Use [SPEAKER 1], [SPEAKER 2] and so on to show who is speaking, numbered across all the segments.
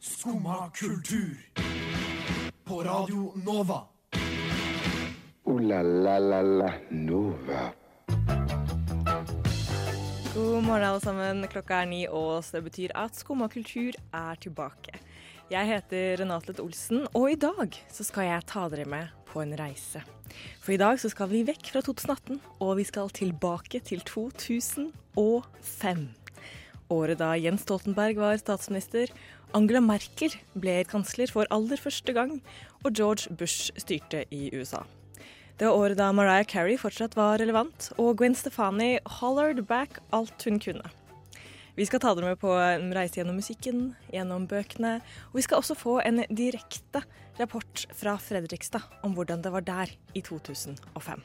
[SPEAKER 1] Skumma kultur. På Radio Nova.
[SPEAKER 2] Ooh la la la la Nova.
[SPEAKER 3] God morgen, alle sammen. Klokka er ni, og så det betyr at Skumma kultur er tilbake. Jeg heter Renate Leth Olsen, og i dag så skal jeg ta dere med på en reise. For i dag så skal vi vekk fra 2018, og vi skal tilbake til 2005. Året da Jens Stoltenberg var statsminister, Angela Merkel ble kansler for aller første gang, og George Bush styrte i USA. Det var året da Mariah Carey fortsatt var relevant, og Gwen Stefani hollered back alt hun kunne. Vi skal ta dere med på en reise gjennom musikken, gjennom bøkene, og vi skal også få en direkte rapport fra Fredrikstad om hvordan det var der i 2005.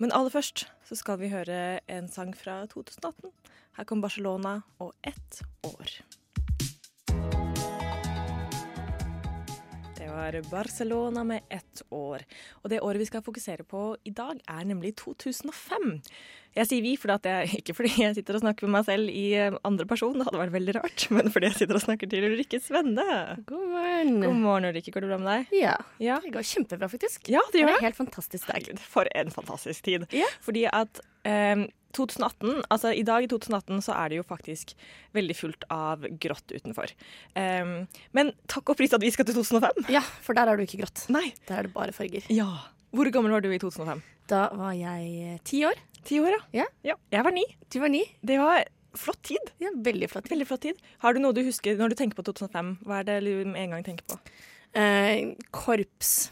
[SPEAKER 3] Men aller først så skal vi høre en sang fra 2018. Her kom Barcelona og ett år. Det var Barcelona med ett år. Og det året vi skal fokusere på i dag, er nemlig 2005. Jeg sier vi, for at jeg, ikke fordi jeg sitter og snakker med meg selv i eh, andre person, det hadde vært veldig rart, men fordi jeg sitter og snakker til Ulrikke Svende.
[SPEAKER 4] God morgen.
[SPEAKER 3] God morgen, Ulrikke. Går det bra med deg?
[SPEAKER 4] Ja.
[SPEAKER 3] Ja.
[SPEAKER 4] Det går kjempebra, faktisk.
[SPEAKER 3] Ja, det
[SPEAKER 4] Det
[SPEAKER 3] gjør
[SPEAKER 4] er
[SPEAKER 3] det.
[SPEAKER 4] en helt fantastisk dag.
[SPEAKER 3] Herregud, for en fantastisk tid.
[SPEAKER 4] Ja.
[SPEAKER 3] Fordi at eh, 2018, altså I dag i 2018 så er det jo faktisk veldig fullt av grått utenfor. Eh, men takk og pris at vi skal til 2005.
[SPEAKER 4] Ja, for der er du ikke grått.
[SPEAKER 3] Nei.
[SPEAKER 4] Der er det bare farger.
[SPEAKER 3] Ja. Hvor gammel var du i 2005?
[SPEAKER 4] Da var jeg eh, ti år.
[SPEAKER 3] Ti år,
[SPEAKER 4] Ja.
[SPEAKER 3] Jeg var ni.
[SPEAKER 4] Du var ni.
[SPEAKER 3] Det var flott tid.
[SPEAKER 4] Ja, veldig flott.
[SPEAKER 3] Veldig flott tid. Har du noe du husker når du tenker på 2005? Hva er det du med en gang tenker på?
[SPEAKER 4] Eh, korps.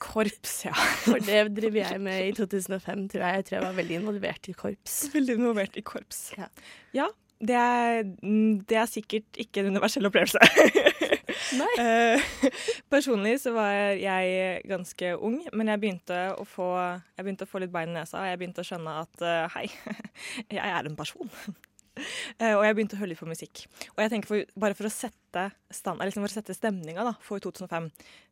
[SPEAKER 3] Korps, ja.
[SPEAKER 4] For det drev jeg med i 2005, tror jeg. Jeg tror jeg var veldig involvert i korps.
[SPEAKER 3] Veldig involvert i korps.
[SPEAKER 4] Ja.
[SPEAKER 3] Ja, det er, mm, det er sikkert ikke en universell opplevelse.
[SPEAKER 4] Nei.
[SPEAKER 3] Eh, Personlig så var jeg ganske ung, men jeg begynte å få, jeg begynte å få litt bein i nesa. og Jeg begynte å skjønne at eh, hei, jeg er en person. Eh, og jeg begynte å høre litt på musikk. Og jeg tenker for, bare for å sette, stand, eller liksom for å sette stemninga da, for 2005,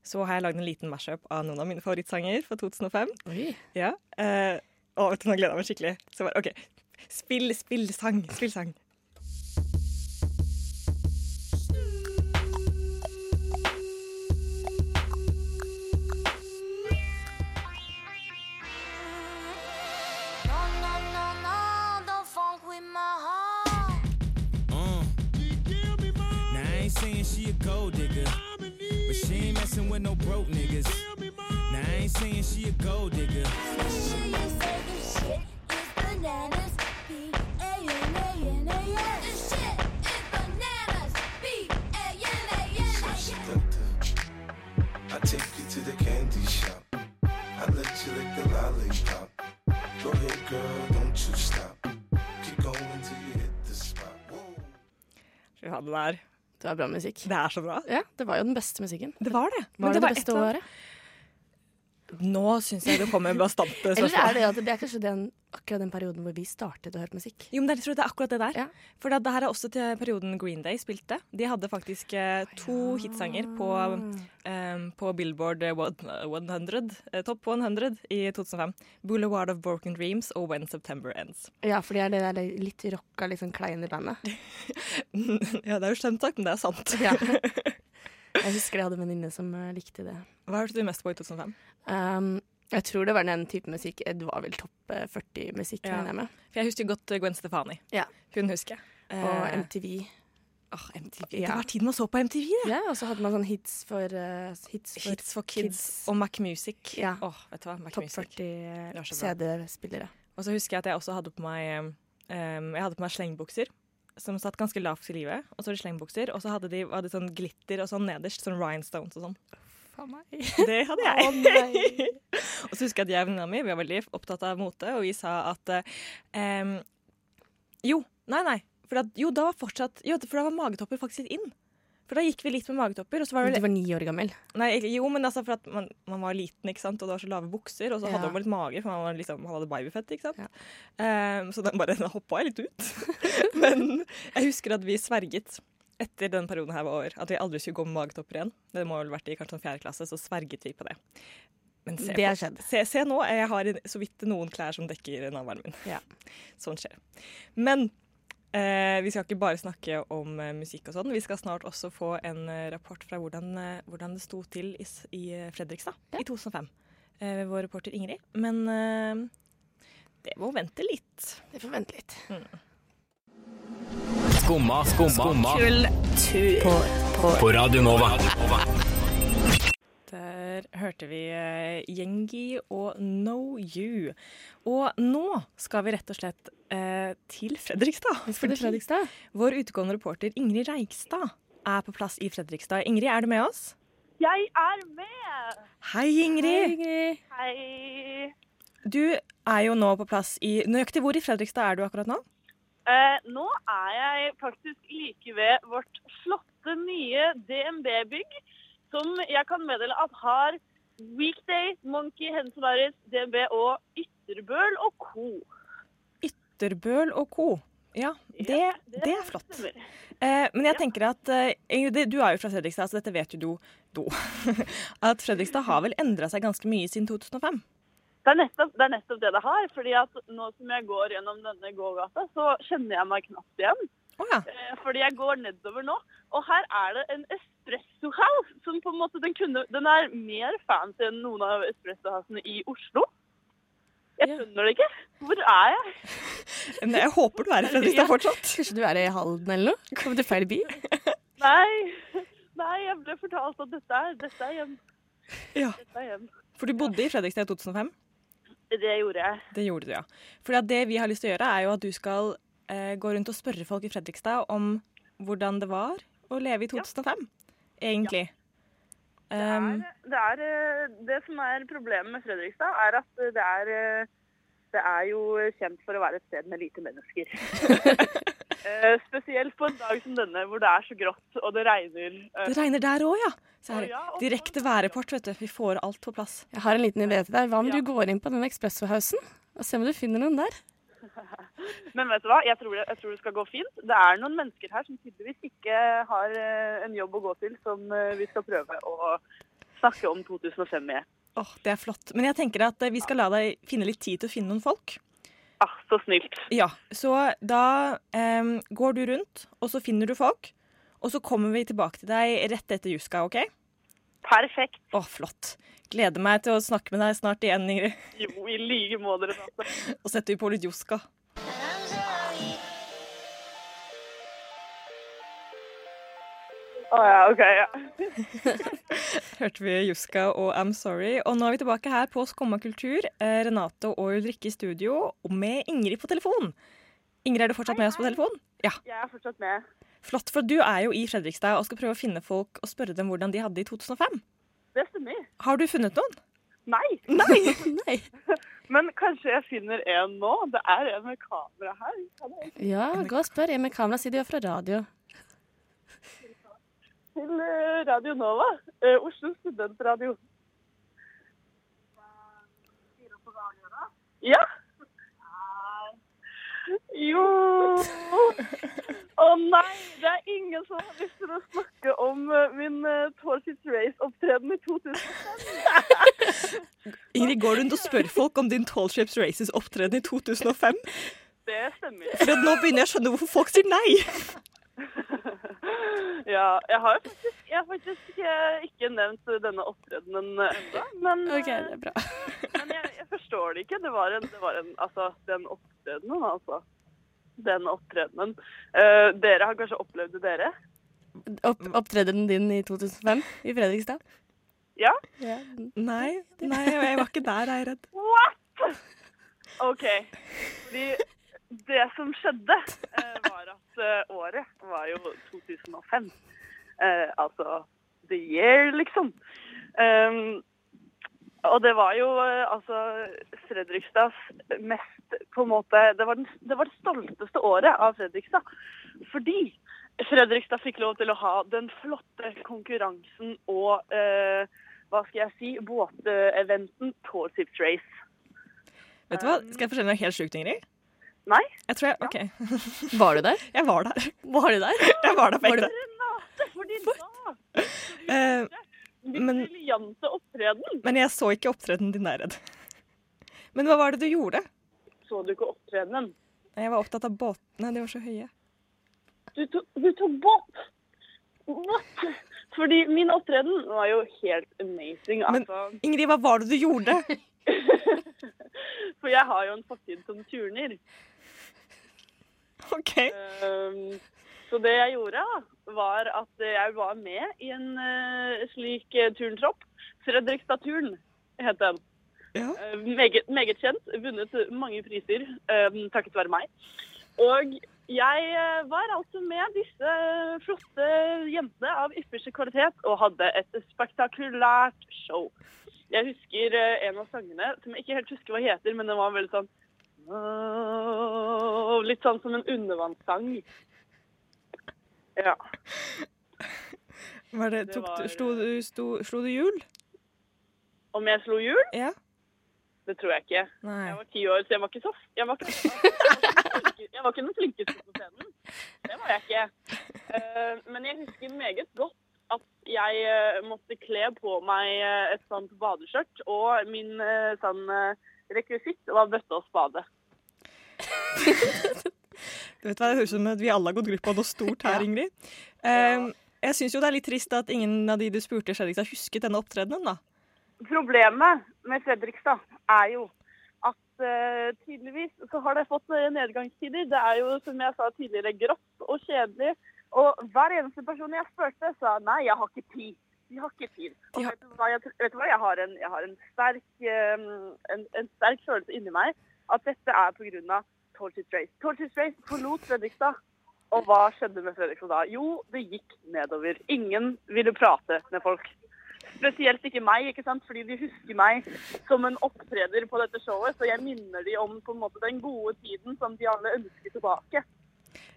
[SPEAKER 3] så har jeg lagd en liten mashup av noen av mine favorittsanger fra 2005.
[SPEAKER 4] Oi.
[SPEAKER 3] Ja. eh, å, vet du, nå gleder jeg meg skikkelig. Så bare, ok, spill, spill sang, spill sang.
[SPEAKER 5] No, no, no, no, don't funk with my heart.
[SPEAKER 6] Uh. Now I ain't saying she a gold digger, but she ain't messing with no broke niggas. Now I ain't saying she a gold digger.
[SPEAKER 5] She is saying shit is bananas. B-A-N-A-N-A-S. This shit is bananas. B-A-N-A-N-A-S.
[SPEAKER 7] I take you to the candy shop. I let you lick the lollipop. Go ahead, girl, don't you stop. Keep going till you hit the spot. Whoa.
[SPEAKER 3] Fy faen, det er,
[SPEAKER 4] Det var bra musikk.
[SPEAKER 3] det er så bra.
[SPEAKER 4] Ja, det var jo den beste musikken.
[SPEAKER 3] Det var det. Men
[SPEAKER 4] Var det det
[SPEAKER 3] var et
[SPEAKER 4] beste
[SPEAKER 3] eller annet-
[SPEAKER 4] året?
[SPEAKER 3] Nå syns jeg du kommer med bastante
[SPEAKER 4] Eller er
[SPEAKER 3] spørsmål.
[SPEAKER 4] det at det er kanskje den, akkurat den perioden hvor vi startet å høre på musikk?
[SPEAKER 3] Jo, men jeg tror det er akkurat det der.
[SPEAKER 4] Ja.
[SPEAKER 3] For det, det her er også til perioden Green Day spilte. De hadde faktisk eh, to hitsanger på, eh, på Billboard 100, eh, Top 100 i 2005. 'Boulevard of Broken Dreams' og 'When September Ends'.
[SPEAKER 4] Ja, for det er det der litt rocka, litt sånn kleine bandet.
[SPEAKER 3] ja, det er jo slemt sagt, men det er sant.
[SPEAKER 4] Ja. Jeg husker jeg hadde en venninne som eh, likte det.
[SPEAKER 3] Hva hørte du mest på i 2005?
[SPEAKER 4] Um, jeg tror det var den type musikk Det var vel topp eh, 40-musikk,
[SPEAKER 3] Ja.
[SPEAKER 4] regner jeg med.
[SPEAKER 3] For jeg husker godt eh, Gwen Stefani.
[SPEAKER 4] Ja.
[SPEAKER 3] Hun husker jeg.
[SPEAKER 4] Og
[SPEAKER 3] Eh,
[SPEAKER 4] MTV.
[SPEAKER 3] åh, MTV.
[SPEAKER 4] Ja.
[SPEAKER 3] Det var tiden man så på MTV, det.
[SPEAKER 4] Ja, og så hadde man sånn hits for eh, Hits for,
[SPEAKER 3] Hits for kids,
[SPEAKER 4] kids.
[SPEAKER 3] og Mac Music.
[SPEAKER 4] Ja.
[SPEAKER 3] Åh, vet du hva? Mac
[SPEAKER 4] topp
[SPEAKER 3] Music.
[SPEAKER 4] 40
[SPEAKER 3] Det var så bra.
[SPEAKER 4] CD-spillere.
[SPEAKER 3] Og så husker jeg at jeg også hadde på meg, um, jeg hadde på meg slengbukser. Som satt ganske lavt i livet. Og så var det slengbukser, og så hadde de, var det sånn glitter og sånn nederst. Sånn rhinestones og sånn.
[SPEAKER 4] Faen meg.
[SPEAKER 3] Det hadde jeg.
[SPEAKER 4] Å nei.
[SPEAKER 3] Og så husker jeg at jeg og venninna mi vi var veldig opptatt av mote, og vi sa at eh, em, Jo, nei, nei. For, at, jo, da var fortsatt, jo, for da var magetopper faktisk litt inn. For da gikk vi litt med magetopper. Og så var det,
[SPEAKER 4] Du var ni år gammel.
[SPEAKER 3] nei, egentlig- jo, men altså for at man, man var liten, ikke sant? og det var så lave bukser. Og så
[SPEAKER 4] Ja.
[SPEAKER 3] hadde man litt mage, for man, var liksom, man hadde babyfett. ikke sant?
[SPEAKER 4] Ja.
[SPEAKER 3] Em, så den bare da hoppa jeg litt ut. men jeg husker at vi sverget etter den perioden her var over, at vi aldri skulle gå med magetopper igjen. Det må vel vært i kanskje sånn fjerde klasse, så sverget vi på det. Men se
[SPEAKER 4] Det har skjedd.
[SPEAKER 3] Se, se nå, jeg har i- så vidt noen klær som dekker navlen min.
[SPEAKER 4] Ja.
[SPEAKER 3] Sånn skjer. Men Eh, vi skal ikke bare snakke om eh, musikk og sånn. Vi skal snart også få en eh, rapport fra hvordan, eh, hvordan det sto til i, s- i eh, Fredrikstad i 2005. Eh, ved vår reporter Ingrid. Men eh, det må vente litt.
[SPEAKER 4] Vi får vente litt.
[SPEAKER 8] Skumma, skumma, skumma. På, på Radio Nova.
[SPEAKER 3] Der hørte vi eh, Gjengi og Know You. Og nå skal vi rett og slett eh, til Fredrikstad. fordi
[SPEAKER 4] Fredrikstad?
[SPEAKER 3] Vår utegående reporter Ingrid Reigstad er på plass i Fredrikstad. Ingrid, er du med oss?
[SPEAKER 9] Jeg er med!
[SPEAKER 3] Hei, Ingrid.
[SPEAKER 9] Hei.
[SPEAKER 3] Du er jo nå på plass i Nøyaktig hvor i Fredrikstad er du akkurat nå?
[SPEAKER 9] Eh, nå er jeg faktisk like ved vårt flotte nye DNB-bygg, som jeg kan meddele at har Weekday, Monkey, Hensolaris, DNB og Ytterbøl og co.
[SPEAKER 3] Ytterbøl og co. Ja, det,
[SPEAKER 9] Ja,
[SPEAKER 3] det er flott.
[SPEAKER 9] stemmer.
[SPEAKER 3] Eh, men jeg tenker at eh, Ingrid, det- du er jo fra Fredrikstad, så dette vet jo du. du. At Fredrikstad har vel endra seg ganske mye siden 2005?
[SPEAKER 9] Det er, nettopp, det er nettopp det det har. fordi at nå som jeg går gjennom denne gågata, så kjenner jeg meg knapt igjen.
[SPEAKER 3] Å ja.
[SPEAKER 9] Eh, fordi jeg går nedover nå, og her er det en espresso house, som på en måte, den, kunne, den er mer fancy enn noen av espresso housene i Oslo. Jeg skjønner det ikke. Hvor er jeg?
[SPEAKER 3] Men jeg håper du er i Fredrikstad fortsatt.
[SPEAKER 4] Kanskje du er i Halden eller noe? Kom til feil by?
[SPEAKER 9] Nei, nei jeg ble fortalt at dette er, dette er hjem.
[SPEAKER 3] Ja.
[SPEAKER 9] Dette er hjem.
[SPEAKER 3] For du bodde i Fredrikstad i 2005?
[SPEAKER 9] Det gjorde jeg.
[SPEAKER 3] Det gjorde du, ja. For det vi har lyst til å gjøre, er jo at du skal eh, gå rundt og spørre folk i Fredrikstad om hvordan det var å leve i 2005, egentlig.
[SPEAKER 9] Det er,
[SPEAKER 3] Um,
[SPEAKER 9] det, er, eh, det som er problemet med Fredrikstad, er at eh, det er, eh, det er jo kjent for å være et sted med lite mennesker. Eh, Spesielt på en dag som denne, hvor det er så grått og det regner. eh,
[SPEAKER 3] det regner der òg, ja. Så er
[SPEAKER 9] Å, ja,
[SPEAKER 3] det
[SPEAKER 9] og
[SPEAKER 3] direkte
[SPEAKER 9] folk-
[SPEAKER 3] værrapport, vet du. Vi får alt på plass.
[SPEAKER 4] Jeg har en liten idé til deg. Hva om
[SPEAKER 9] Ja.
[SPEAKER 4] du går inn på den Expresso-hausen og ser om du finner noen der?
[SPEAKER 9] Men vet du hva, jeg tror, det, jeg tror det skal gå fint. Det er noen mennesker her som tydeligvis ikke har eh, en jobb å gå til, som eh, vi skal prøve å snakke om 2005 med.
[SPEAKER 3] Åh, Det er flott. Men jeg tenker at eh, vi skal la deg finne litt tid til å finne noen folk.
[SPEAKER 9] Ah, så snilt.
[SPEAKER 3] Ja, Så da em, går du rundt, og så finner du folk. Og så kommer vi tilbake til deg rett etter Juska, OK?
[SPEAKER 9] Perfekt.
[SPEAKER 3] Å, flott. Gleder meg til å snakke med deg snart igjen, Ingrid.
[SPEAKER 9] Jo, i like måte. Renate.
[SPEAKER 3] Og setter vi på litt Juska.
[SPEAKER 9] Å ja, OK. Ja.
[SPEAKER 3] Hørte vi Juska og I'm Sorry. Og nå er vi tilbake her på Skumma kultur. Eh, Renate og Ulrikke i studio, og med Ingrid på telefon. Ingrid, er du fortsatt med oss på telefon? Ja,
[SPEAKER 9] Jeg er fortsatt med.
[SPEAKER 3] Flott, for du er jo i Fredrikstad og skal prøve å finne folk og spørre dem hvordan de hadde det i 2005.
[SPEAKER 9] Det stemmer.
[SPEAKER 3] Har du funnet noen?
[SPEAKER 9] Nei.
[SPEAKER 3] Nei!
[SPEAKER 4] Nei.
[SPEAKER 9] Men kanskje jeg finner en nå? Det er en med kamera her. Kan jeg
[SPEAKER 4] Ja, gå og spør. Jeg med kamera sier du er fra radio.
[SPEAKER 9] Til eh, Radio Nova. eh, Oslo studentradio. Ja. Jo Å nei, det er ingen som har lyst til å snakke om eh, min uh, Torsit Race-opptreden i 2000.
[SPEAKER 3] Ingrid går rundt og spør folk om din Tall Ships Races opptreden i 2005.
[SPEAKER 9] Det stemmer.
[SPEAKER 3] For at nå begynner jeg å skjønne hvorfor folk sier nei.
[SPEAKER 9] Ja, jeg har jo faktisk, jeg har faktisk eh, ikke nevnt denne opptredenen ennå. Men, eh,
[SPEAKER 4] OK, det er bra.
[SPEAKER 9] men jeg, jeg forstår det ikke. Det var en, det var en altså, den opptredenen, altså. Den opptredenen. Eh, dere har kanskje opplevd det, dere?
[SPEAKER 4] Opp, opptredenen din i 2005 i Fredrikstad?
[SPEAKER 9] Ja?
[SPEAKER 4] Ja.
[SPEAKER 3] Nei, nei, jeg var ikke der, jeg er redd.
[SPEAKER 9] What?! OK. Fordi det som skjedde, eh, var at eh, året var jo 2005. Eh, altså the year, liksom. Um, og det var jo eh, altså Fredrikstads mest på en måte det var, den, det var det stolteste året av Fredrikstad. Fordi Fredrikstad fikk lov til å ha den flotte konkurransen og eh, hva skal jeg si, båteventen Tourship Race.
[SPEAKER 3] Vet du hva, skal jeg fortelle deg noe helt sjukt, Ingrid?
[SPEAKER 9] Nei?
[SPEAKER 3] Jeg tror jeg, ok,
[SPEAKER 4] Var du der?
[SPEAKER 3] jeg var der.
[SPEAKER 4] Var du der?
[SPEAKER 3] Jeg var der på
[SPEAKER 4] Var du
[SPEAKER 3] ekte.
[SPEAKER 9] Renate, for din dag!
[SPEAKER 3] Eh,
[SPEAKER 9] Din
[SPEAKER 3] men-
[SPEAKER 9] briljante opptreden.
[SPEAKER 3] Men jeg så ikke opptredenen din, jeg er redd. Men hva var det du gjorde?
[SPEAKER 9] Så du ikke opptredenen?
[SPEAKER 3] Jeg var opptatt av båtene, de var så høye.
[SPEAKER 9] Du tok, du tok båt! What? Fordi min opptreden var jo helt amazing.
[SPEAKER 4] Men
[SPEAKER 9] Altså,
[SPEAKER 4] Ingrid, hva var det du gjorde?
[SPEAKER 9] for jeg har jo en fortid som turner.
[SPEAKER 4] OK.
[SPEAKER 9] Ehm, så det jeg gjorde, da, var at jeg var med i en eh, slik eh, turntropp. Fredrikstad-turn het den.
[SPEAKER 4] Ja.
[SPEAKER 9] Eh, meget, meget kjent. Vunnet mange priser eh, takket være meg. Og jeg eh, var altså med disse flotte jentene av ypperste kvalitet og hadde et spektakulært show. Jeg husker eh, en av sangene, som jeg ikke helt husker hva heter, men den var veldig sånn «Åh», Litt sånn som en undervannssang. Ja.
[SPEAKER 4] Var det,
[SPEAKER 9] Det
[SPEAKER 4] tok,
[SPEAKER 9] var,
[SPEAKER 4] du- slo, du, sto, slo du hjul?
[SPEAKER 9] Om jeg slo hjul?
[SPEAKER 4] Ja.
[SPEAKER 9] Det tror jeg ikke.
[SPEAKER 3] Nei.
[SPEAKER 9] Jeg var ti år, så jeg var ikke så jeg var ikke, jeg var ikke, den flinke- jeg var ikke den flinkeste på scenen. Det var jeg ikke. Eh, men jeg husker meget godt at jeg eh, måtte kle på meg eh, et sånt badeskjørt, og min eh, sånn eh, rekvisitt var bøtte og spade.
[SPEAKER 3] Du vet hva, Det høres ut som at vi alle har gått glipp av noe stort her, Ingrid. Ehm, jeg syns jo det er litt trist at ingen av de du spurte i Fredrikstad, husket denne opptredenen, da.
[SPEAKER 9] Problemet med Fredrikstad er jo at eh, tydeligvis så har det fått eh, nedgangstider. Det er jo, som jeg sa tidligere, grått og kjedelig. Og hver eneste person jeg spurte, sa nei, jeg har ikke tid. De har ikke tid. Og
[SPEAKER 3] De har-
[SPEAKER 9] vet, du hva, jeg, tr- vet du hva, jeg har en, jeg har en, sterk, eh, en, en sterk følelse inni meg at dette er pga. Tortoise Race. Tortoise Race forlot Fredrikstad. Og hva skjedde med Fredrikstad da? Jo, det gikk nedover. Ingen ville prate med folk. Spesielt ikke meg, ikke sant? fordi de husker meg som en opptreder på dette showet. Så jeg minner de om på en måte den gode tiden som de alle ønsker tilbake.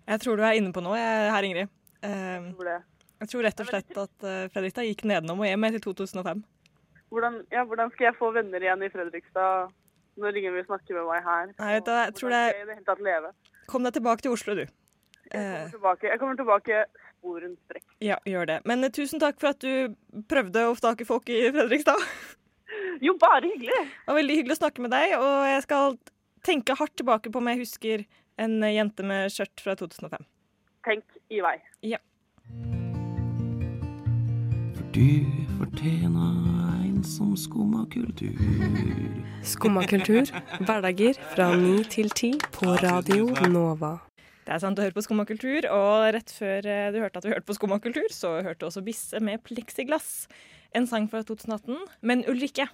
[SPEAKER 3] Jeg tror du er inne på noe jeg- her, Ingrid. Ehm,
[SPEAKER 9] Hvor det-
[SPEAKER 3] jeg tror rett og slett at eh, Fredrikstad gikk nedenom og hjem etter 2005.
[SPEAKER 9] Hvordan, ja, hvordan skal jeg få venner igjen i Fredrikstad når ingen vil snakke med meg her?
[SPEAKER 3] Nei, vet du hva, jeg tror
[SPEAKER 9] Hvordan
[SPEAKER 3] det-
[SPEAKER 9] skal jeg i det hele tatt leve?
[SPEAKER 3] Kom deg tilbake til Oslo, du.
[SPEAKER 9] Jeg
[SPEAKER 3] Eh,
[SPEAKER 9] kommer tilbake, jeg kommer tilbake sporenstreks.
[SPEAKER 3] ja, gjør det. Men eh, tusen takk for at du prøvde å stake folk i Fredrikstad.
[SPEAKER 9] Jo, bare hyggelig!
[SPEAKER 3] Det var veldig hyggelig å snakke med deg, og jeg skal tenke hardt tilbake på om jeg husker en eh, jente med skjørt fra 2005.
[SPEAKER 9] Tenk i vei.
[SPEAKER 6] For du fortjener en som skummer kultur.
[SPEAKER 8] Skumma kultur. Hverdager fra ni til ti på Radio Nova.
[SPEAKER 3] Det er sant, du hører på Skumma kultur, og rett før eh, du hørte at vi hørte på Skumma kultur, så hørte du også Bisse med Plexiglass, en sang fra 2018. Men Ulrikke,